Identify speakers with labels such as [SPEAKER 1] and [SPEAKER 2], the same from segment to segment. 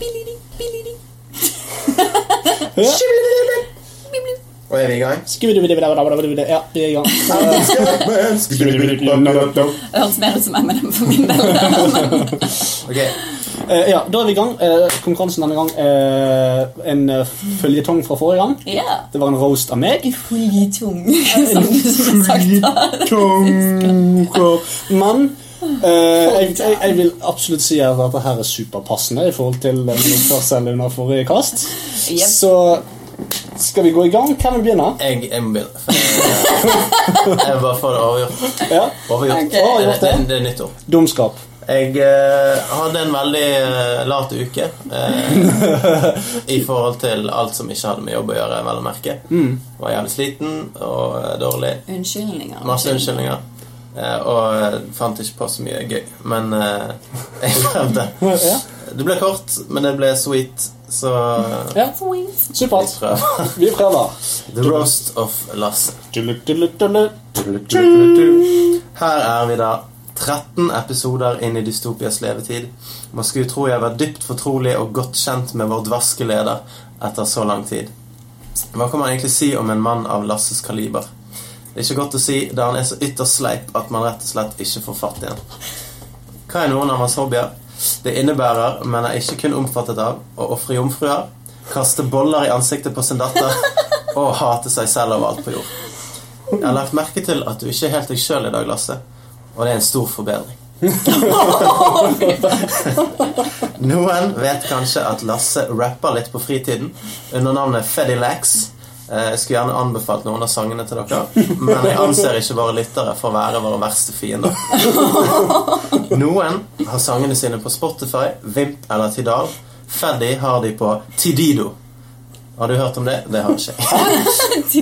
[SPEAKER 1] Biliri, biliri,
[SPEAKER 2] Ja.
[SPEAKER 3] Og er vi i gang?
[SPEAKER 2] Skubbidi-bidi-bidi-bidi-bidi. Ja, vi er i gang.
[SPEAKER 1] Det høres mer ut som M&M for min del.
[SPEAKER 3] Ok,
[SPEAKER 2] Eh, ja, da er vi i gang. Eh, konkurransen denne gang er en eh, føljetong fra forrige gang.
[SPEAKER 1] Ja.
[SPEAKER 2] Det var en roast av meg.
[SPEAKER 1] Flytung, som du som sagt.
[SPEAKER 2] Tonker. Men eh, jeg, jeg, jeg vil absolutt si at dette her er superpassende i forhold til eh, min oppførsel under forrige kast.
[SPEAKER 1] Yep.
[SPEAKER 2] Så skal vi gå i gang? Hvem vil begynne?
[SPEAKER 3] jeg, jeg må begynne. for Jeg jeg bare får det overgjort.
[SPEAKER 2] Ja.
[SPEAKER 3] Overgjort.
[SPEAKER 1] Ok.
[SPEAKER 3] Det, det, det er nyttår.
[SPEAKER 2] Dumskap.
[SPEAKER 3] Jeg eh, hadde en veldig eh, lat uke eh, i forhold til alt som ikke hadde med jobb å gjøre, vel å merke. Var jævlig sliten og eh, dårlig.
[SPEAKER 1] Unnskyldninger.
[SPEAKER 3] Masse unnskyldninger. Eh, og eh, fant ikke på så mye gøy. Men eh, jeg prøvde.
[SPEAKER 2] Ja.
[SPEAKER 3] Det ble kort, men det ble sweet, så eh,
[SPEAKER 2] ja.
[SPEAKER 3] vi
[SPEAKER 2] Supert.
[SPEAKER 3] prøver.
[SPEAKER 2] Vi prøver.
[SPEAKER 3] The roast of Lasse.
[SPEAKER 2] Dulutulutulu.
[SPEAKER 3] Her er vi da 13 episoder inn i Dystopias levetid. Man skulle tro jeg var dypt fortrolig og godt kjent med vår dvaske leder etter så lang tid. Hva kan man egentlig si om en mann av Lasses kaliber? Det er ikke godt å si, da han er så ytterst sleip at man rett og slett ikke får fatt i han. Hva er noen av hans hobbyer? Det innebærer, men er ikke kun omfattet av, å ofre jomfruer, kaste boller i ansiktet på sin datter og hate seg selv overalt på jord. Jeg har lagt merke til at du ikke er helt deg sjøl i dag, Lasse, og det er en stor forbedring. Noen vet kanskje at Lasse rapper litt på fritiden under navnet Feddy Lax. Eh, Jeg skulle gjerne anbefalt noen av sangene til dere, men jeg anser ikke våre lyttere for å være våre verste fiender. Noen har sangene sine på Spotify, Vimp eller Tidal. Feddy har de på Tidido. Har du hørt om det? Det har ikke jeg.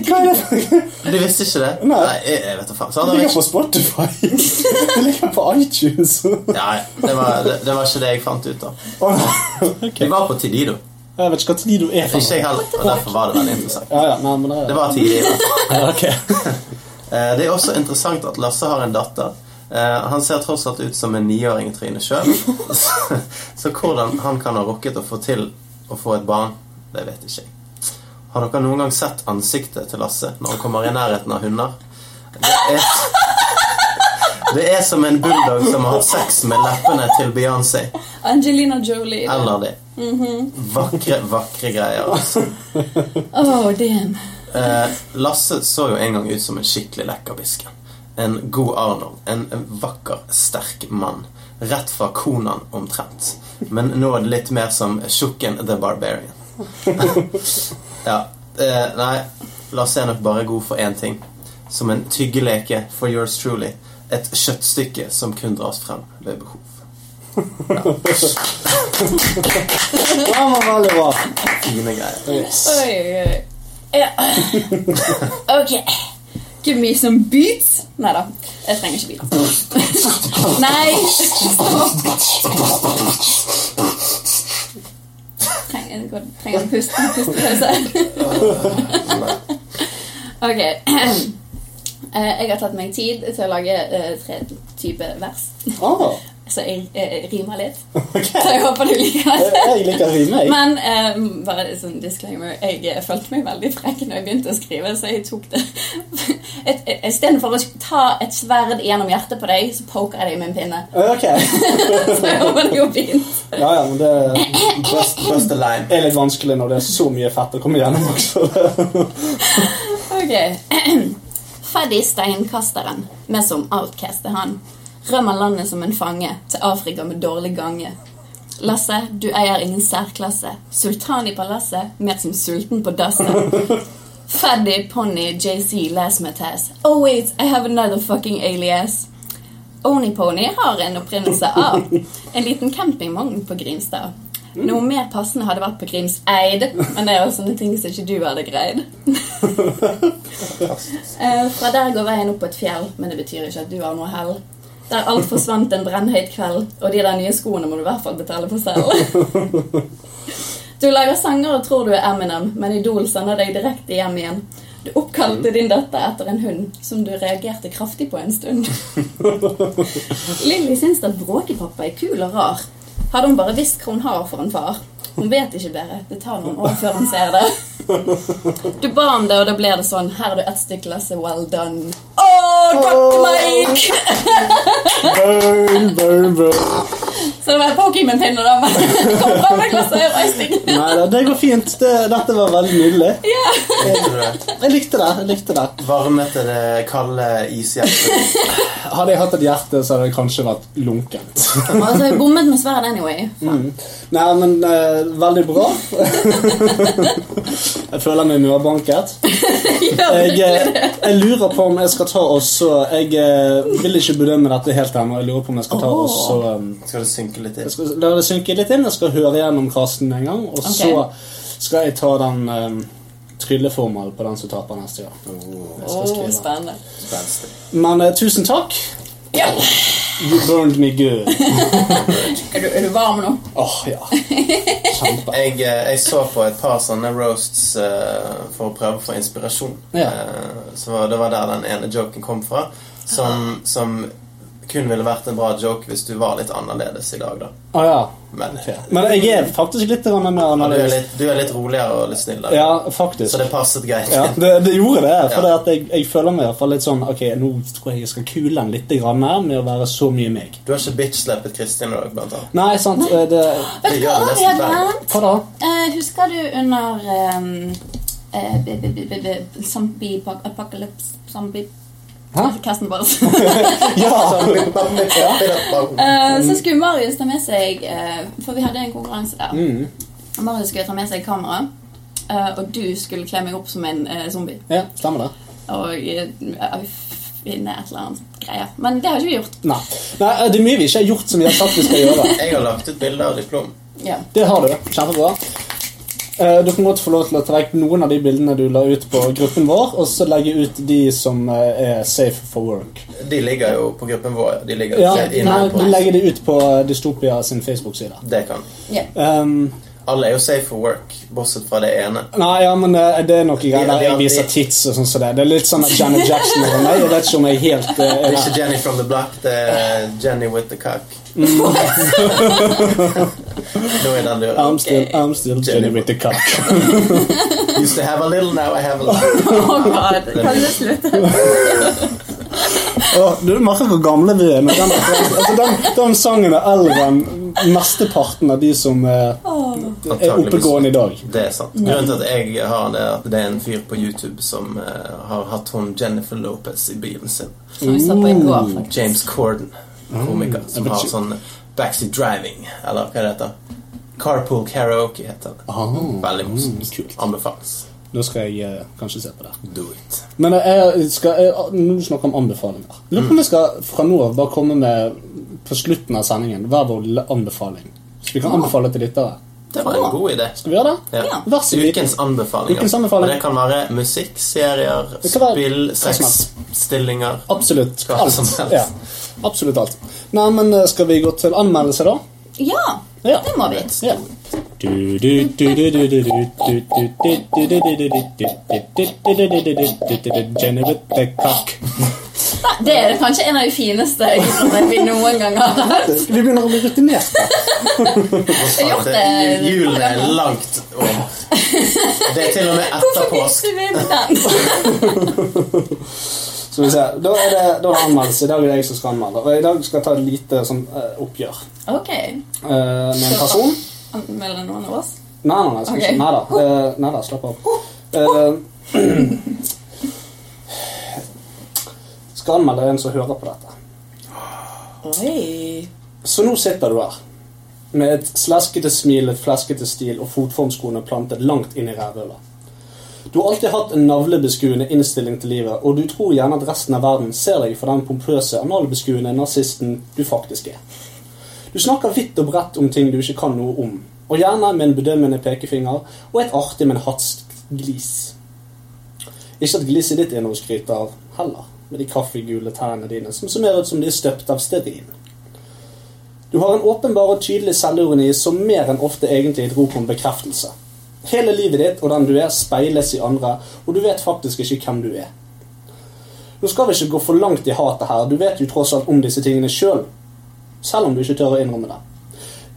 [SPEAKER 2] Hva er det?
[SPEAKER 3] Du visste ikke det?
[SPEAKER 2] Nei.
[SPEAKER 3] jeg, jeg vet da faen. Så han
[SPEAKER 2] Det
[SPEAKER 3] har
[SPEAKER 2] ligger
[SPEAKER 3] ikke
[SPEAKER 2] på Spotify. Det ligger på iTunes.
[SPEAKER 3] Nei, det var, det, det var ikke det jeg fant ut av.
[SPEAKER 2] Ok.
[SPEAKER 3] Vi var på Tidido.
[SPEAKER 2] Jeg vet ikke hva tid du er for.
[SPEAKER 3] Ikke jeg heller, og derfor var det veldig interessant.
[SPEAKER 2] Ja, ja, nei, men det
[SPEAKER 3] Det
[SPEAKER 2] er...
[SPEAKER 3] var Tidido.
[SPEAKER 2] Ja, ok.
[SPEAKER 3] Eh, Det er også interessant at Lasse har en datter. Eh, Han ser tross alt ut som en niåring Trine sjøl. Så, så hvordan han kan ha rukket å få til å få et barn, det vet ikke jeg. Har dere noen gang sett ansiktet til Lasse når han kommer i nærheten av hunder? Det er, det er som en bulldog som har hatt sex med leppene til Beyoncé.
[SPEAKER 1] Angelina Jolie.
[SPEAKER 3] Eller det. Vakre, vakre greier, altså.
[SPEAKER 1] Oh, damn.
[SPEAKER 3] Eh, Lasse så jo en gang ut som en skikkelig lekker bisken. En god Arnold. En vakker, sterk mann. Rett fra Konan omtrent. Men nå er det litt mer som Tjukken the Barbarian. ja. Eh, nei, Lasse er nok bare god for én ting. Som en tyggeleke for yours truly. Et kjøttstykke som kun dras frem ved behov.
[SPEAKER 2] Ja, men veldig bra.
[SPEAKER 3] Fine greier.
[SPEAKER 2] Yes.
[SPEAKER 1] Oi, oi, oi. Ja. Ok. Give me some beats. Nei da, jeg trenger ikke beats. Nei! Trenger, jeg trenger en pust- pustepause. Ok. Eh, Jeg har tatt meg tid til å lage eh, tre typer vers,
[SPEAKER 2] Ah,
[SPEAKER 1] så jeg eh, rimer litt.
[SPEAKER 2] ok.
[SPEAKER 1] Så jeg håper du liker det.
[SPEAKER 2] Jeg liker rime, jeg.
[SPEAKER 1] Men eh, bare en sånn disclaimer Jeg eh, følte meg veldig frekk når jeg begynte å skrive, så jeg tok det Et- et- Istedenfor å ta et sverd gjennom hjertet på deg, så poker jeg deg med en pinne.
[SPEAKER 2] Ok.
[SPEAKER 1] Så jeg håper det går fint.
[SPEAKER 2] Ja, ja, men det
[SPEAKER 3] Bust, bust the line.
[SPEAKER 2] er litt vanskelig når det er så mye fett å komme gjennom også.
[SPEAKER 1] Ok. Faddy steinkasteren, med som outcast er han. Rømmer landet som en fange, til Afrika med dårlig gange. Lasse, du eier ingen særklasse. Sultan i palasset, mer som sulten på dasset. Faddy, ponni, JC, les med Tess. Oh wait, I have another fucking alias. Onipony har en opprinnelse av en liten campingvogn på Grimstad. Noe mer passende hadde vært på Grimseid, men det er jo sånne ting som ikke du hadde greid. Eh, Fra der går veien opp på et fjell, men det betyr ikke at du har noe hell. Der alt forsvant en brennhøyt kveld, og de der nye skoene må du i hvert fall betale for selv. Du lager sanger og tror du er Eminem, men Idol sender deg direkte hjem igjen. Du oppkalte din datter etter en hund som du reagerte kraftig på en stund. Lilly syns at bråkepappa er kul og rar. Hadde hun bare visst hva hun har for en far. Hun vet ikke bedre. Det tar noen år før hun ser det. Du ba om det, og da ble det sånn. Her er du ett stykke lasse. Well done. Å, Dr. Mike!
[SPEAKER 2] Burn, burn, burn.
[SPEAKER 1] Så det var Pokémon-pinner, da. Men kom fram med glasset og icing.
[SPEAKER 2] Nei da, det går fint. Det, dette var veldig nydelig.
[SPEAKER 3] Likte du det?
[SPEAKER 2] Jeg likte det. jeg likte det
[SPEAKER 3] Varmete det kalde ishjertet.
[SPEAKER 2] Hadde jeg hatt et hjerte, så hadde det kanskje vært lunkent.
[SPEAKER 1] Altså, jeg bommet med sverd anyway.
[SPEAKER 2] Mm. Nei, men eh, veldig bra. jeg føler meg mørbanket.
[SPEAKER 1] Ja,
[SPEAKER 2] Jeg, eh, jeg lurer på om jeg skal ta også Jeg eh, vil ikke bedømme dette helt ennå. Jeg lurer på om jeg skal ta
[SPEAKER 1] Åh.
[SPEAKER 2] også um,
[SPEAKER 3] Skal det synke litt
[SPEAKER 2] Jeg
[SPEAKER 3] til?
[SPEAKER 2] skal la det synke litt inn. Jeg skal høre gjennom casten en gang, og så skal jeg ta den um, trylleformelen på den som taper neste gang. Jeg skal
[SPEAKER 1] Åh,
[SPEAKER 2] skrive.
[SPEAKER 1] spennende.
[SPEAKER 3] Spenstig.
[SPEAKER 2] Men eh, tusen takk.
[SPEAKER 1] Ja.
[SPEAKER 2] You burned me good.
[SPEAKER 1] Er, du, er du varm nå?
[SPEAKER 2] Åh, ja. Kjempe.
[SPEAKER 3] Jeg, eh, jeg så på et par sånne roasts eh, for å prøve å få inspirasjon.
[SPEAKER 2] Ja.
[SPEAKER 3] Eh, så var- Det var der den ene joken kom fra. Som, som kun ville vært en bra joke hvis du var litt annerledes i dag, da.
[SPEAKER 2] Å ja.
[SPEAKER 3] Men
[SPEAKER 2] Ok. Men jeg er faktisk litt grann mer
[SPEAKER 3] du, er
[SPEAKER 2] annerledes.
[SPEAKER 3] litt, du er litt roligere og litt snillere.
[SPEAKER 2] Ja,
[SPEAKER 3] Så
[SPEAKER 2] faktisk.
[SPEAKER 3] det passet greit.
[SPEAKER 2] Ja, det, det gjorde det. For
[SPEAKER 3] Ja.
[SPEAKER 2] det at jeg, jeg føler meg i hvert fall litt sånn Ok, nå tror jeg jeg skal kule den litt grann her med å være så mye meg.
[SPEAKER 3] Du har ikke bitch-slappet Kristin i dag, blant annet.
[SPEAKER 2] Nei, sant. eh, Det,
[SPEAKER 1] Vet du hva
[SPEAKER 3] Ja, det er
[SPEAKER 1] vi hadde
[SPEAKER 3] spennende.
[SPEAKER 1] glemt?
[SPEAKER 2] hva da?
[SPEAKER 1] Eh, husker du under um, uh, Zombie apo- Apocalypse Zombie
[SPEAKER 2] Hæ?
[SPEAKER 1] Casten vår.
[SPEAKER 2] Ja!
[SPEAKER 1] Eh, så skulle Marius ta med seg eh, For vi hadde en konkurranse der.
[SPEAKER 2] Mm,
[SPEAKER 1] Marius skulle ta med seg kamera, eh, og du skulle kle meg opp som en eh, zombie.
[SPEAKER 2] ja, stemmer det.
[SPEAKER 1] Og eh, finne et eller annet greier. Men det har ikke vi gjort.
[SPEAKER 2] Nei. Nei, eh, det er mye vi ikke har gjort som vi har sagt vi skal gjøre.
[SPEAKER 3] Jeg har lagt ut bilde av diplom.
[SPEAKER 1] Ja.
[SPEAKER 2] Det har du. Kjempebra. Eh, Du kan godt få lov til å trekke noen av de bildene du la ut på gruppen vår, og så legge ut de som eh, er safe for work.
[SPEAKER 3] De ligger jo på gruppen vår. De ligger
[SPEAKER 2] Ja,
[SPEAKER 3] ikke inne
[SPEAKER 2] nei,
[SPEAKER 3] på
[SPEAKER 2] vi legger de ut på eh, Dystopia sin Facebook-side.
[SPEAKER 3] Det kan
[SPEAKER 1] ja.
[SPEAKER 2] Um,
[SPEAKER 3] Alle er jo safe for work, bortsett fra det ene.
[SPEAKER 2] Nei, ja, men eh, det er noe greier der jeg viser tits og sånn som det. Det er litt sånn at Janet Jackson over meg. Jeg vet ikke om jeg helt eh,
[SPEAKER 3] Det
[SPEAKER 2] er
[SPEAKER 3] er
[SPEAKER 2] der.
[SPEAKER 3] ikke Jenny from the Black, det er Jenny with the cock.
[SPEAKER 2] Mm.
[SPEAKER 3] Nå er den
[SPEAKER 2] I'm
[SPEAKER 3] luren.
[SPEAKER 2] still, I'm still Jenny with the cock.
[SPEAKER 3] Used to have a little, now I have a lot.
[SPEAKER 1] Oh God, kan du slutte?
[SPEAKER 2] Åh, du merker hvor gamle vi er. men Den, altså, den, den sangen er eldre enn mesteparten av de som eh, er oppegående i dag.
[SPEAKER 3] Det er sant. Grunnen til at jeg har det, er at det er en fyr på YouTube som eh, har hatt hun Jennifer Lopez i bilen sin.
[SPEAKER 1] Som vi så på i går, faktisk.
[SPEAKER 3] James Corden, komiker, som
[SPEAKER 2] Mm. jeg vet
[SPEAKER 3] har
[SPEAKER 2] ikke.
[SPEAKER 3] sånn backseat driving, eller hva det heter. Carpool karaoke heter det.
[SPEAKER 2] Ah,
[SPEAKER 3] Veldig
[SPEAKER 2] mm,
[SPEAKER 3] morsomt.
[SPEAKER 2] kult.
[SPEAKER 3] Anbefales.
[SPEAKER 2] Nå skal jeg eh, kanskje se på det.
[SPEAKER 3] Do it.
[SPEAKER 2] Men eh, jeg skal, jeg, nå snakker jeg om anbefalinger. Lurer
[SPEAKER 3] Mm.
[SPEAKER 2] på om jeg skal fra nå av bare komme med på slutten av sendingen hver vår lille anbefaling. Så vi kan anbefale til lyttere.
[SPEAKER 3] Det var en god idé.
[SPEAKER 2] Skal vi gjøre det?
[SPEAKER 3] Ja.
[SPEAKER 2] Vær så god.
[SPEAKER 3] Ukens anbefalinger.
[SPEAKER 2] Ukens anbefaling.
[SPEAKER 3] Og Det kan være musikk, serier,
[SPEAKER 2] Det kan være
[SPEAKER 3] spill,
[SPEAKER 2] hva som helst.
[SPEAKER 3] sexstillinger
[SPEAKER 2] Absolutt
[SPEAKER 3] Hva som helst.
[SPEAKER 2] alt. Ja. Absolutt alt. Nei, men eh, skal vi gå til anmeldelse, da?
[SPEAKER 1] Ja,
[SPEAKER 2] Ja.
[SPEAKER 1] det må vi.
[SPEAKER 2] Ja. Jenny with the cock.
[SPEAKER 1] Nei, Det er kanskje en av de fineste eksemplene vi noen gang har hatt.
[SPEAKER 2] Vi begynner å bli rutinerte.
[SPEAKER 1] Jeg har gjort det.
[SPEAKER 3] Julen er langt over. Det er til og med etter
[SPEAKER 1] Hvorfor
[SPEAKER 3] påske.
[SPEAKER 1] fikk vi med den?
[SPEAKER 2] Skal vi se. Da er det da er det anmeldelse. I dag er det jeg som skal anmelde. Og i dag skal jeg ta et lite sånn, eh, oppgjør
[SPEAKER 1] Ok,
[SPEAKER 2] eh, med en person.
[SPEAKER 1] anmelder noen av oss?
[SPEAKER 2] Nei, nei, nei, skal
[SPEAKER 1] Ok.
[SPEAKER 2] ikke. Nei da. Eh, nei da, slapp av. Eh, skal anmelde en som hører på dette.
[SPEAKER 1] Oi.
[SPEAKER 2] Så nå sitter du her med et slaskete smil, et flaskete stil og fotformskoene plantet langt inn i rævhølet. Du har alltid hatt en navlebeskuende innstilling til livet, og du tror gjerne at resten av verden ser deg for den pompøse, analbeskuende narsisten du faktisk er. Du snakker vidt og bredt om ting du ikke kan noe om, og gjerne med en bedømmende pekefinger og et artig, men hatsk glis. Ikke at gliset ditt er noe å skryte av heller, med de kaffegule tærne dine som ser mer ut som de er støpt av stearin. Du har en åpenbar og tydelig selvironi som mer enn ofte egentlig er et rop om bekreftelse. Hele livet ditt og den du er, speiles i andre, og du vet faktisk ikke hvem du er. Nå skal vi ikke gå for langt i hatet her, du vet jo tross alt om disse tingene sjøl, selv, om du ikke tør å innrømme det.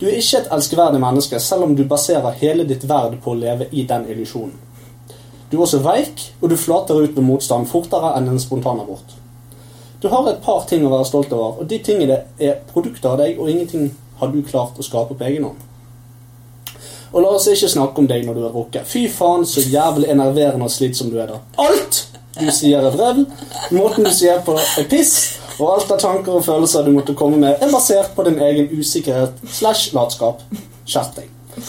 [SPEAKER 2] Du er ikke et elskverdig menneske, selv om du baserer hele ditt verd på å leve i den illusjonen. Du er også veik, og du flater ut ved motstand fortere enn en spontanabort. Du har et par ting å være stolt over, og de tingene er produkter av deg, og ingenting har du klart å skape på egen hånd. Og la oss ikke snakke om deg når du er rocke. Fy faen, så jævlig enerverende og slitsom du er da. Alt du sier er vrøvl, måten du sier på er piss, og alt av tanker og følelser du måtte komme med, er basert på din egen usikkerhet slash latskap. Skjerp deg.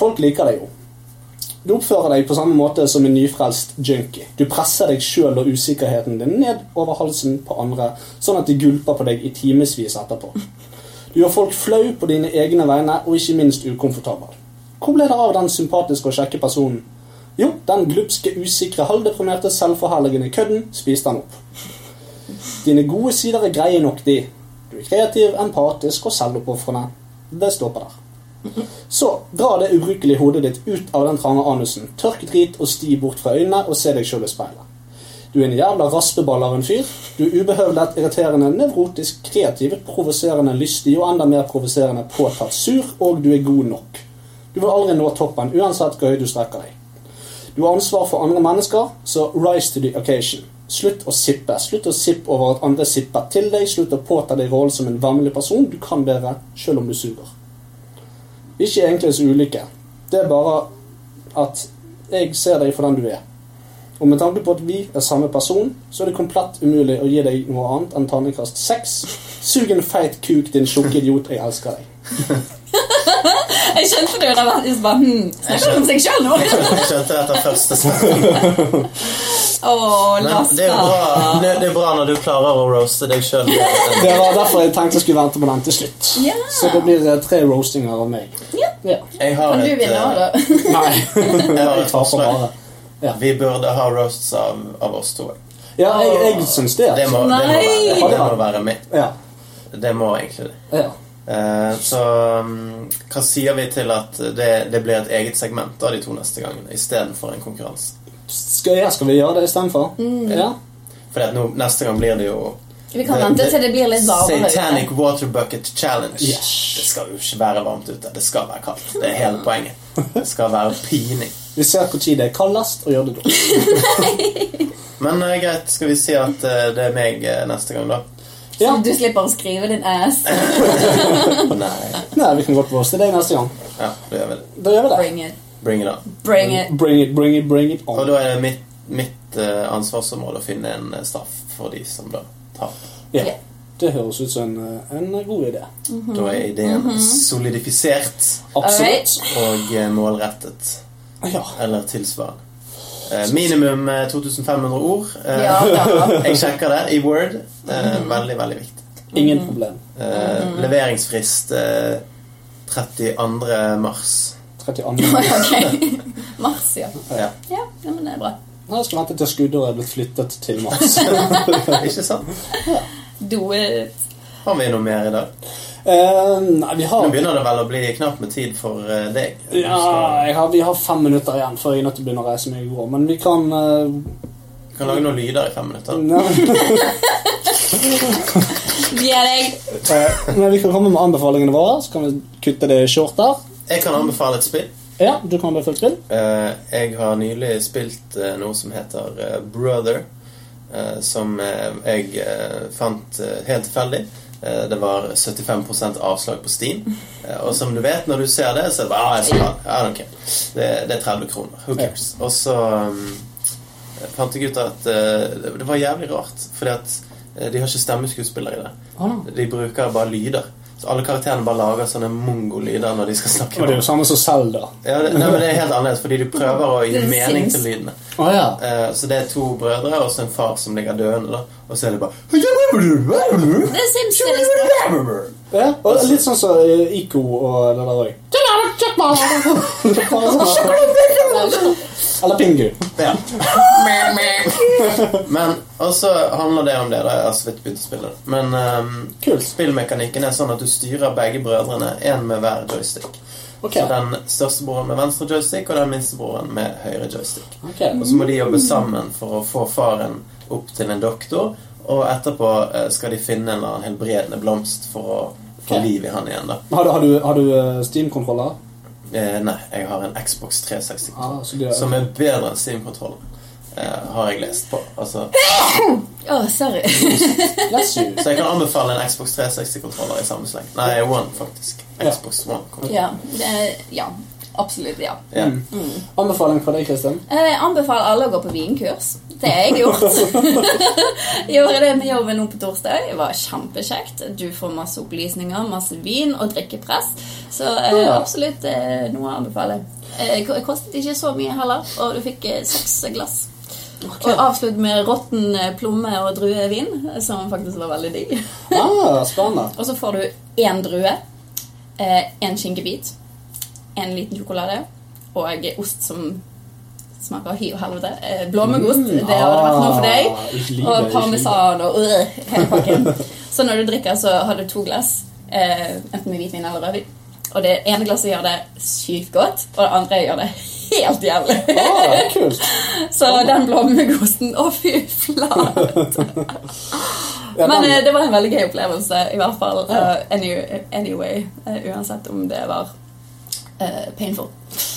[SPEAKER 2] Folk liker deg jo. Du oppfører deg på samme måte som en nyfrelst junkie. Du presser deg sjøl og usikkerheten din ned over halsen på andre, sånn at de gulper på deg i timevis etterpå. Du gjør folk flau på dine egne vegne, og ikke minst ukomfortabel. Hvor ble det av den sympatiske og kjekke personen? Jo, den glupske, usikre, halvdeprimerte, selvforherligende kødden spiste han opp. Dine gode sider er greie nok, de. Du er kreativ, empatisk og selvoppofrende. Det stopper der. Så dra det ubrukelige hodet ditt ut av den trange anusen, tørk drit og sti bort fra øynene og se deg sjøl i speilet. Du er en jævla raspeball av en fyr. Du er ubehøvlet, irriterende, nevrotisk, kreativ, provoserende, lystig og enda mer provoserende påtatt sur, og du er god nok. Du vil aldri nå toppen, uansett hvor høyt du strekker deg. Du har ansvar for andre mennesker, så rise to the occasion. Slutt å sippe. Slutt å sippe over at andre sipper til deg. Slutt å påta deg rollen som en vemmelig person. Du kan bedre, selv om du suger. Ikke egentlig så ulike. Det er bare at jeg ser deg for den du er. Og med tanke på at vi er samme person, så er det komplett umulig å gi deg noe annet enn terningkast seks. Sug en feit kuk, din tjukke idiot. Jeg elsker deg.
[SPEAKER 1] Jeg skjønte det jo da Mattis bare hm, Snakker om seg sjøl nå.
[SPEAKER 3] Jeg skjønte det etter første snakk.
[SPEAKER 1] Å,
[SPEAKER 3] Men det er, jo
[SPEAKER 1] Lasse.
[SPEAKER 3] bra, det det er bra når du klarer å roaste deg sjøl.
[SPEAKER 2] Det var derfor jeg tenkte jeg skulle vente på den til slutt.
[SPEAKER 1] Ja.
[SPEAKER 2] Så det blir eh, tre roastinger av meg.
[SPEAKER 1] Ja.
[SPEAKER 2] Ja.
[SPEAKER 3] Jeg har
[SPEAKER 1] Kan du
[SPEAKER 3] et,
[SPEAKER 1] vinne òg,
[SPEAKER 3] eh,
[SPEAKER 1] da?
[SPEAKER 2] Nei.
[SPEAKER 3] jeg har
[SPEAKER 2] Jeg
[SPEAKER 3] et
[SPEAKER 2] taper
[SPEAKER 3] forslag.
[SPEAKER 2] bare.
[SPEAKER 3] Vi burde ha roasts av, av oss to.
[SPEAKER 2] Ja, jeg, jeg syns det.
[SPEAKER 3] Det må, det, må
[SPEAKER 1] Nei!
[SPEAKER 3] være, det må være mitt.
[SPEAKER 2] Ja.
[SPEAKER 3] Det må egentlig det.
[SPEAKER 2] ja.
[SPEAKER 3] Eh, Så mm, hva sier vi til at det, det blir et eget segment av de to neste gangene istedenfor en konkurranse?
[SPEAKER 2] Skal, ja, skal vi gjøre det istedenfor?
[SPEAKER 1] Mm.
[SPEAKER 2] Ja.
[SPEAKER 3] For nå, neste gang blir det jo
[SPEAKER 1] Vi kan vente til det blir litt varmere.
[SPEAKER 3] Satanic Water Bucket Challenge.
[SPEAKER 2] Yes.
[SPEAKER 3] Det skal jo ikke være varmt ute. Det skal være kaldt. Det er hele poenget. Det skal være pining.
[SPEAKER 2] Vi ser hvor tid det er kaldest, og gjør det da.
[SPEAKER 3] Men eh, greit, skal vi si at eh, det er meg eh, neste gang, da?
[SPEAKER 1] Så
[SPEAKER 2] Ja.
[SPEAKER 1] du slipper å skrive din ass.
[SPEAKER 3] Nei.
[SPEAKER 2] Nei, vi kan godt roaste deg neste gang.
[SPEAKER 3] Ja, da gjør vi det.
[SPEAKER 2] Da gjør vi det.
[SPEAKER 1] Bring it.
[SPEAKER 3] Bring it on.
[SPEAKER 1] Bring it.
[SPEAKER 2] Bring it, bring it, bring it
[SPEAKER 3] Og
[SPEAKER 2] on.
[SPEAKER 3] da er det mitt, mitt eh, ansvarsområde å finne en eh, straff for de som da tar.
[SPEAKER 2] Ja.
[SPEAKER 1] Ja.
[SPEAKER 2] Det høres ut som en, eh, en god idé.
[SPEAKER 1] Mm-hmm.
[SPEAKER 3] Da
[SPEAKER 2] Mm.
[SPEAKER 3] er ideen
[SPEAKER 2] Mhm.
[SPEAKER 3] solidifisert
[SPEAKER 2] Absolutt.
[SPEAKER 3] og eh, målrettet.
[SPEAKER 2] Ja.
[SPEAKER 3] Eller tilsvarende. Eh, minimum eh, 2500 ord. Eh,
[SPEAKER 1] Ja, da.
[SPEAKER 3] Jeg sjekker det i Word. Eh,
[SPEAKER 2] Mhm.
[SPEAKER 3] veldig, veldig viktig.
[SPEAKER 2] Ingen
[SPEAKER 1] Mm-hmm.
[SPEAKER 2] problem.
[SPEAKER 3] Eh,
[SPEAKER 2] Mhm.
[SPEAKER 3] Leveringsfrist eh, 32. mars.
[SPEAKER 2] 32.
[SPEAKER 1] Ok. Mars, ja.
[SPEAKER 3] Ja.
[SPEAKER 1] Ja, ja, men det er bra.
[SPEAKER 2] Nå skal jeg vente til skuddåret er blitt flyttet til mars.
[SPEAKER 3] Ikke sant?
[SPEAKER 1] Do it.
[SPEAKER 3] Har vi noe mer i dag?
[SPEAKER 2] Eh, nei, vi
[SPEAKER 3] Nå
[SPEAKER 2] har
[SPEAKER 3] begynner det vel å bli knapt med tid for eh, deg. Du
[SPEAKER 2] Ja,
[SPEAKER 3] skal-
[SPEAKER 2] jeg har, vi har fem minutter igjen før jeg er nødt til å begynne å reise meg i går. Men vi kan eh,
[SPEAKER 3] Du kan lage noen lyder i fem minutter.
[SPEAKER 2] Mm. nei,
[SPEAKER 1] Gi deg.
[SPEAKER 2] eh, Men vi kan komme med anbefalingene våre, så kan vi kutte det short der.
[SPEAKER 3] Jeg kan anbefale et spill.
[SPEAKER 2] Ja, du kan bli fulgt inn.
[SPEAKER 3] Eh, jeg har nylig spilt eh, noe som heter eh, Brother, eh, som eh, jeg eh, fant eh, helt tilfeldig. Eh, det var 75 avslag på Steam. Eh, og som du vet, når du ser det, så er det bare, ah, jeg skal ha det. I don't care. Det, det er 30 kroner. Who cares? Og så um, fant jeg ut at eh, det- det var jævlig rart, fordi at eh, de har ikke stemmeskuespillere i det.
[SPEAKER 2] Ah.
[SPEAKER 3] De bruker bare lyder. Så alle karakterene bare lager sånne mongo-lyder når de skal snakke.
[SPEAKER 2] Og det er jo samme som Selda.
[SPEAKER 3] Ja, det, nei, men det er helt annerledes, fordi du prøver å gi
[SPEAKER 1] Det er
[SPEAKER 3] mening
[SPEAKER 1] Sims.
[SPEAKER 3] til lydene.
[SPEAKER 2] Å ja.
[SPEAKER 3] Eh, så det er to brødre og så en far som ligger døende, da. Og så er det bare
[SPEAKER 1] Det er Sims. det er liksom-
[SPEAKER 2] ja. Og litt sånn som eh, Ico og det der òg. Eller Pingu.
[SPEAKER 3] Ja. Men Og så handler det om det, da. Jeg har så vidt begynt å spille det. Men ehm,
[SPEAKER 2] Kult.
[SPEAKER 3] spillmekanikken er sånn at du styrer begge brødrene, én med hver joystick.
[SPEAKER 2] Ok.
[SPEAKER 3] Så den største broren med venstre joystick, og den minste broren med høyre joystick.
[SPEAKER 2] Ok.
[SPEAKER 3] Og så må de jobbe sammen for å få faren opp til en doktor, og etterpå eh, skal de finne en eller annen helbredende blomst for å få liv i han igjen, da.
[SPEAKER 2] Har du, har du, har du eh, Steam-kontroller?
[SPEAKER 3] Eh, nei, jeg har en Xbox 360
[SPEAKER 2] Ah, så det er-
[SPEAKER 3] som er bedre enn Steam-kontrollen. Eh, har jeg lest på. Altså,
[SPEAKER 1] Å, sorry.
[SPEAKER 2] Bless you.
[SPEAKER 3] så jeg kan anbefale en Xbox 360-kontroller i samme sleng. Nei, One, faktisk.
[SPEAKER 2] Ja.
[SPEAKER 3] Xbox One. kom.
[SPEAKER 1] ja, det, ja. Absolutt, ja.
[SPEAKER 3] Ja.
[SPEAKER 2] Mm. Anbefaling fra deg, Kristin?
[SPEAKER 1] Eh, Jeg anbefaler alle å gå på vinkurs. Det har jeg gjort. Gjorde det med jobben nå på torsdag. Det var kjempekjekt. Du får masse opplysninger, masse vin og drikkepress. Så eh,
[SPEAKER 2] Ja.
[SPEAKER 1] absolutt eh, noe å anbefale. Eh, ko- kostet ikke så mye heller, og du fikk eh, seks glass. Og avslutt med råtten eh, plomme og druevin, eh, som faktisk var veldig digg.
[SPEAKER 2] Ah, spennende.
[SPEAKER 1] Og så får du én drue, eh, en skinkebit, en liten sjokolade og ost som smaker hy og helvete. Eh, blåmuggost,
[SPEAKER 2] Mm,
[SPEAKER 1] det hadde vært noe for
[SPEAKER 2] ah, ikke
[SPEAKER 1] deg.
[SPEAKER 2] livet,
[SPEAKER 1] Og
[SPEAKER 2] ikke
[SPEAKER 1] parmesan og øh, hele pakken. Så når du drikker, så har du to glass, eh, enten med hvitvin eller rødvin. Og det ene glasset gjør det sykt godt, og det andre gjør det helt jævlig.
[SPEAKER 2] Ah, det er kult.
[SPEAKER 1] Så den blåmuggosten Å, fy flate!
[SPEAKER 2] Ja,
[SPEAKER 1] Men
[SPEAKER 2] den-
[SPEAKER 1] eh, det var en veldig gøy opplevelse, i hvert fall. eh, any, anyway, eh, uansett om det var eh, painful.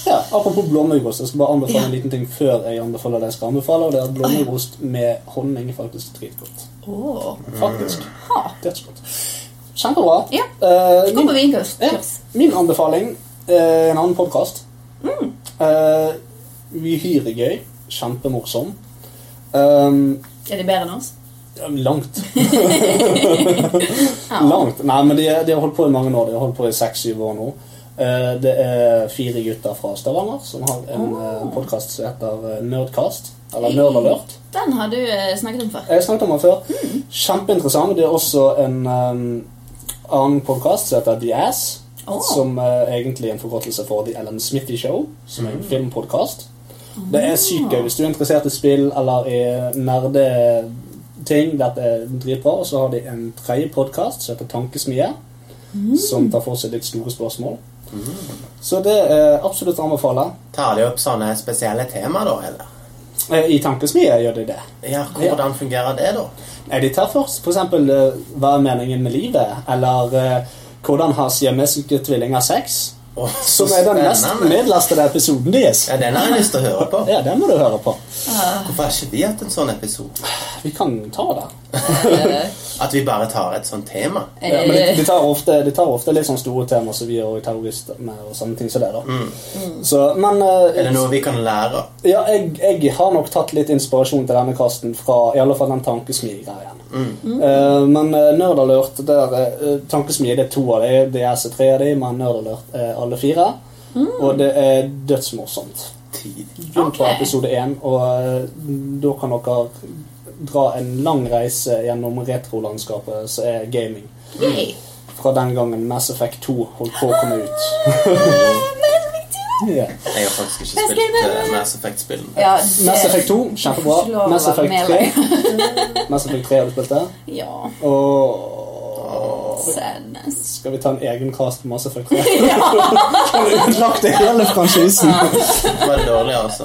[SPEAKER 2] Ja, apropos blåmuggost, jeg skal bare anbefale
[SPEAKER 1] Ja.
[SPEAKER 2] en liten ting før jeg anbefaler det jeg skal anbefale, og det er at blåmuggost med honning er faktisk dritgodt.
[SPEAKER 1] Åh.
[SPEAKER 2] Faktisk.
[SPEAKER 1] Ha.
[SPEAKER 2] Dødsgodt. Kjempebra.
[SPEAKER 1] Ja.
[SPEAKER 2] Eh,
[SPEAKER 1] Gå på
[SPEAKER 2] min,
[SPEAKER 1] vinkurs.
[SPEAKER 2] ja,
[SPEAKER 1] kurs.
[SPEAKER 2] min anbefaling er en annen podkast. Eh, uhyre gøy. Kjempemorsom. Um,
[SPEAKER 1] Er de bedre enn oss?
[SPEAKER 2] langt.
[SPEAKER 1] Ja.
[SPEAKER 2] Langt. Nei, men de, de har holdt på i mange år. De har holdt på i seks-syv år nå. Eh, det er fire gutter fra Stavanger som har en oh. podkast som heter eh, Nerdcast. Eller Nerd Alert.
[SPEAKER 1] Den har du eh, snakket om før.
[SPEAKER 2] Jeg har snakket om den før. Kjempeinteressant. Det er også en eh, annen podkast som heter The Ass.
[SPEAKER 1] Åh.
[SPEAKER 2] Som eh, egentlig er en forkortelse for The Ellen Smithy Show, som er en filmpodkast. Det er sykt gøy hvis du er interessert i spill eller i nerdeting. Dette er dritbra. Og så har de en tredje podkast som heter Tankesmie, som tar for seg litt store spørsmål. Så det er absolutt å anbefale.
[SPEAKER 3] Tar de opp sånne spesielle temaer, da? eller?
[SPEAKER 2] Eh, I Tankesmie gjør de det.
[SPEAKER 3] Ja, Hvordan fungerer det, da?
[SPEAKER 2] Nei, de tar først for eksempel eh, hva er meningen med livet, eller eh, hvordan har siamesiske tvillinger sex?
[SPEAKER 3] Åh, så
[SPEAKER 2] Som er den mest
[SPEAKER 3] spennende.
[SPEAKER 2] nedlastede episoden deres.
[SPEAKER 3] Ja, Den har jeg lyst til å høre på.
[SPEAKER 2] Ja, den må du høre på.
[SPEAKER 3] Hvorfor har ikke vi hatt en sånn episode?
[SPEAKER 2] Vi kan ta det.
[SPEAKER 1] Eh,
[SPEAKER 3] At vi bare tar et sånt tema?
[SPEAKER 2] Ja, men de,
[SPEAKER 1] eh,
[SPEAKER 2] de, tar ofte, de tar ofte litt sånn store temaer som vi og terrorister med, og sånne ting som det. da. Så, men eh,
[SPEAKER 3] Er det noe vi kan lære av?
[SPEAKER 2] ja, jeg, jeg har nok tatt litt inspirasjon til denne kasten fra i alle fall den tankesmi-greien.
[SPEAKER 1] Mm.
[SPEAKER 2] Eh, men uh, Nerdalert der, eh, Tankesmi det er to av dem. Det er så tre av dem, men Nerdalert er alle fire. Og det er dødsmorsomt.
[SPEAKER 3] Tid.
[SPEAKER 2] Begynn på
[SPEAKER 1] Mm. Ok.
[SPEAKER 2] episode én, og eh, da kan dere dra en lang reise gjennom retrolandskapet som er gaming.
[SPEAKER 1] Yay.
[SPEAKER 2] Fra den gangen Mass Effect 2 holdt på å komme ut. Ja.
[SPEAKER 3] Jeg har faktisk ikke
[SPEAKER 1] Jeg skal
[SPEAKER 3] spilt
[SPEAKER 1] bare-
[SPEAKER 3] eh, Mass Effect-spillen.
[SPEAKER 1] Ja,
[SPEAKER 2] Mass
[SPEAKER 1] det-
[SPEAKER 2] Effect 2,
[SPEAKER 1] Ikke lov
[SPEAKER 2] kjempebra.
[SPEAKER 1] å
[SPEAKER 2] Mass
[SPEAKER 1] være med,
[SPEAKER 2] Effect 3. Mass Effect 3 har du spilt det.
[SPEAKER 1] Ja.
[SPEAKER 2] Og
[SPEAKER 1] Sadness.
[SPEAKER 2] skal vi ta en egen cast på Mass Effect 3?
[SPEAKER 1] Ja.
[SPEAKER 2] Utlagt det hele franchisen.
[SPEAKER 3] Det var dårlig, altså.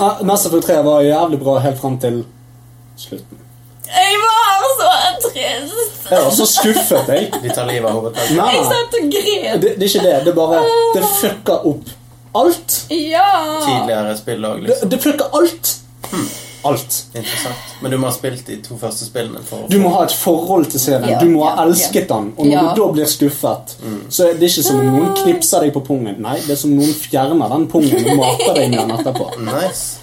[SPEAKER 2] Ah, Mass Effect 3 var jævlig bra helt fram til slutten.
[SPEAKER 1] Jeg var så trist!
[SPEAKER 2] Jeg var så skuffet, jeg.
[SPEAKER 3] De tar livet av hovedpersonen.
[SPEAKER 2] Nei,
[SPEAKER 1] Jeg
[SPEAKER 2] nei.
[SPEAKER 1] satt og gren.
[SPEAKER 2] Det, det er ikke det. Det er bare Det fucker opp alt.
[SPEAKER 1] Ja!
[SPEAKER 3] Tidligere spill òg,
[SPEAKER 2] Det,
[SPEAKER 3] liksom.
[SPEAKER 2] det fucker alt. Alt.
[SPEAKER 3] Interessant. Men du må ha spilt de to første spillene for å
[SPEAKER 2] Du må ha et forhold til serien.
[SPEAKER 1] Ja,
[SPEAKER 2] Du må ha
[SPEAKER 1] ja,
[SPEAKER 2] elsket den. Og når
[SPEAKER 1] Ja.
[SPEAKER 2] du da blir skuffet, så er det ikke som om noen knipser deg på pungen. Nei, det er som om noen fjerner den pungen og mater deg med den etterpå.
[SPEAKER 3] Nice.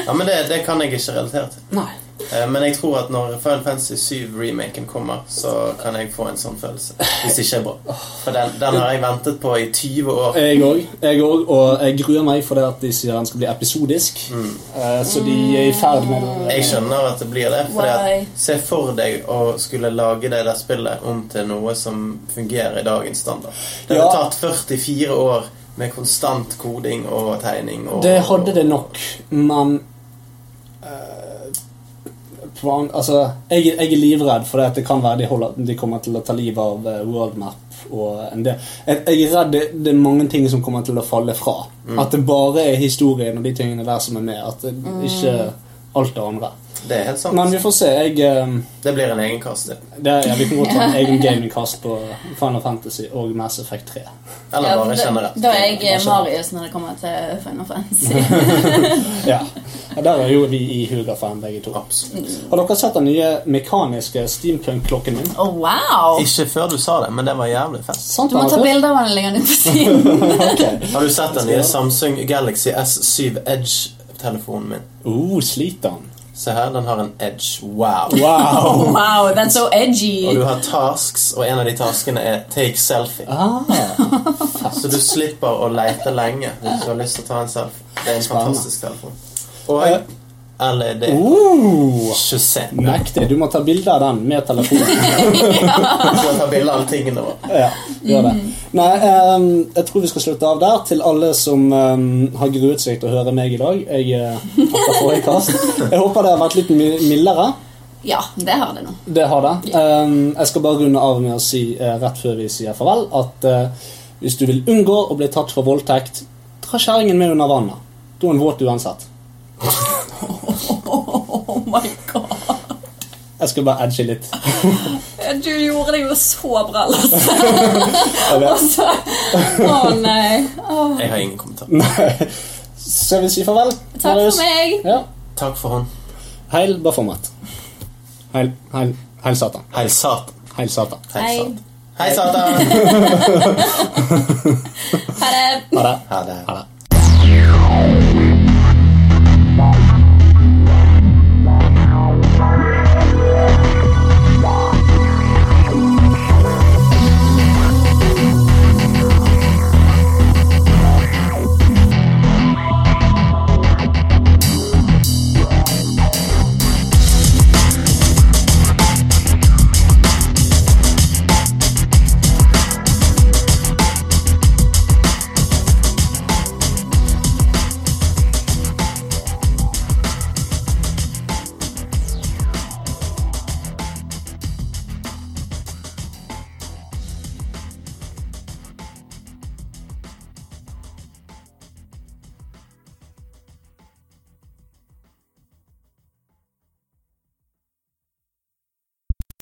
[SPEAKER 3] Ja, men det, det kan jeg ikke relatere til.
[SPEAKER 2] Nei.
[SPEAKER 3] Eh, Men jeg tror at når Final Fantasy 7-remaken kommer, så kan jeg få en sånn følelse. Hvis det ikke er bra. For den, den har jeg ventet på i 20 år.
[SPEAKER 2] Jeg òg. Jeg òg, og jeg gruer meg fordi at de sier den skal bli episodisk. Eh, Så de er i ferd med
[SPEAKER 3] Jeg skjønner at det blir det. Fordi
[SPEAKER 1] Why?
[SPEAKER 3] at, se for deg å skulle lage det der spillet om til noe som fungerer i dagens standard. Det har
[SPEAKER 2] Ja.
[SPEAKER 3] tatt 44 år med konstant koding og tegning. Og,
[SPEAKER 2] Det hadde det nok, men eh, plan, altså, jeg, jeg er livredd for det at det kan være de, holder, de kommer til å ta livet av eh, worldmap og en del. Jeg, jeg er redd det, det er mange ting som kommer til å falle fra. At det bare er historien og de tingene der som er med. At det ikke alt det andre.
[SPEAKER 3] Det er helt sant.
[SPEAKER 2] Men vi får se. Jeg, eh,
[SPEAKER 3] Det blir en egen kast, det.
[SPEAKER 2] det, ja, vi kan godt ta en egen gamingcast på Final Fantasy og Mass Effect 3.
[SPEAKER 3] Eller
[SPEAKER 1] Ja,
[SPEAKER 3] bare
[SPEAKER 1] da,
[SPEAKER 3] generelt.
[SPEAKER 1] da er jeg eh,
[SPEAKER 2] Bare generelt.
[SPEAKER 1] Marius når det kommer til Final Fantasy.
[SPEAKER 2] Ja, Ja, Der er jo vi i Huga-fan, begge to.
[SPEAKER 3] Absolutt.
[SPEAKER 2] Har dere sett den nye mekaniske steampunk-klokken min?
[SPEAKER 1] Oh, wow!
[SPEAKER 3] Ikke før du sa det, men det var jævlig fett.
[SPEAKER 2] Sant,
[SPEAKER 1] Du må ta
[SPEAKER 2] Markus?
[SPEAKER 1] bilder av den liggende på siden.
[SPEAKER 2] Ok.
[SPEAKER 3] Har du sett den nye Samsung Galaxy S7 Edge-telefonen min?
[SPEAKER 2] Oh, sliter han?
[SPEAKER 3] Se her, den har en Edge. Wow.
[SPEAKER 2] Wow!
[SPEAKER 1] Wow, that's so edgy.
[SPEAKER 3] Og du har tasks, og en av de taskene er 'take selfie'.
[SPEAKER 2] Ah,
[SPEAKER 3] Så du slipper å leite lenge hvis du har lyst til å ta en selfie. Det er en
[SPEAKER 2] Spennende.
[SPEAKER 3] fantastisk telefon. Eh, Og LED.
[SPEAKER 2] oh.
[SPEAKER 3] 26.
[SPEAKER 2] Mektig. Du må ta bilde av den med telefonen.
[SPEAKER 3] Du kan ta bilde av tingene våre.
[SPEAKER 2] Ja, gjør det.
[SPEAKER 1] Mm.
[SPEAKER 2] Nei, ehm, jeg tror vi skal slutte av der. Til alle som ehm, har gruet seg til å høre meg i dag. Jeg, eh, etter forrige kast. jeg håper det har vært litt mi- mildere.
[SPEAKER 1] Ja, det har det nå.
[SPEAKER 2] Det har det. Ehm, jeg skal bare runde av med å si eh, rett før vi sier farvel, at eh, hvis du vil unngå å bli tatt for voldtekt, dra kjerringen med under vannet. Da er hun våt uansett.
[SPEAKER 1] Oh my god.
[SPEAKER 2] Jeg skal bare edge litt.
[SPEAKER 1] Du gjorde det jo så bra, Lasse.
[SPEAKER 2] Jeg vet.
[SPEAKER 1] Altså. Å nei. Å,
[SPEAKER 3] Jeg har ingen kommentar.
[SPEAKER 2] Nei. Så vi sier farvel.
[SPEAKER 1] takk
[SPEAKER 2] Marius?
[SPEAKER 1] for meg.
[SPEAKER 2] Ja.
[SPEAKER 3] Takk for hånd.
[SPEAKER 2] Heil Baphomet. Heil, heil, heil Satan.
[SPEAKER 3] Heil Satan.
[SPEAKER 2] Heil Satan.
[SPEAKER 1] Hei.
[SPEAKER 3] Heil Satan. Hei, Satan.
[SPEAKER 1] Ha det.
[SPEAKER 2] Ha det.
[SPEAKER 3] Ha det.
[SPEAKER 2] Ha det.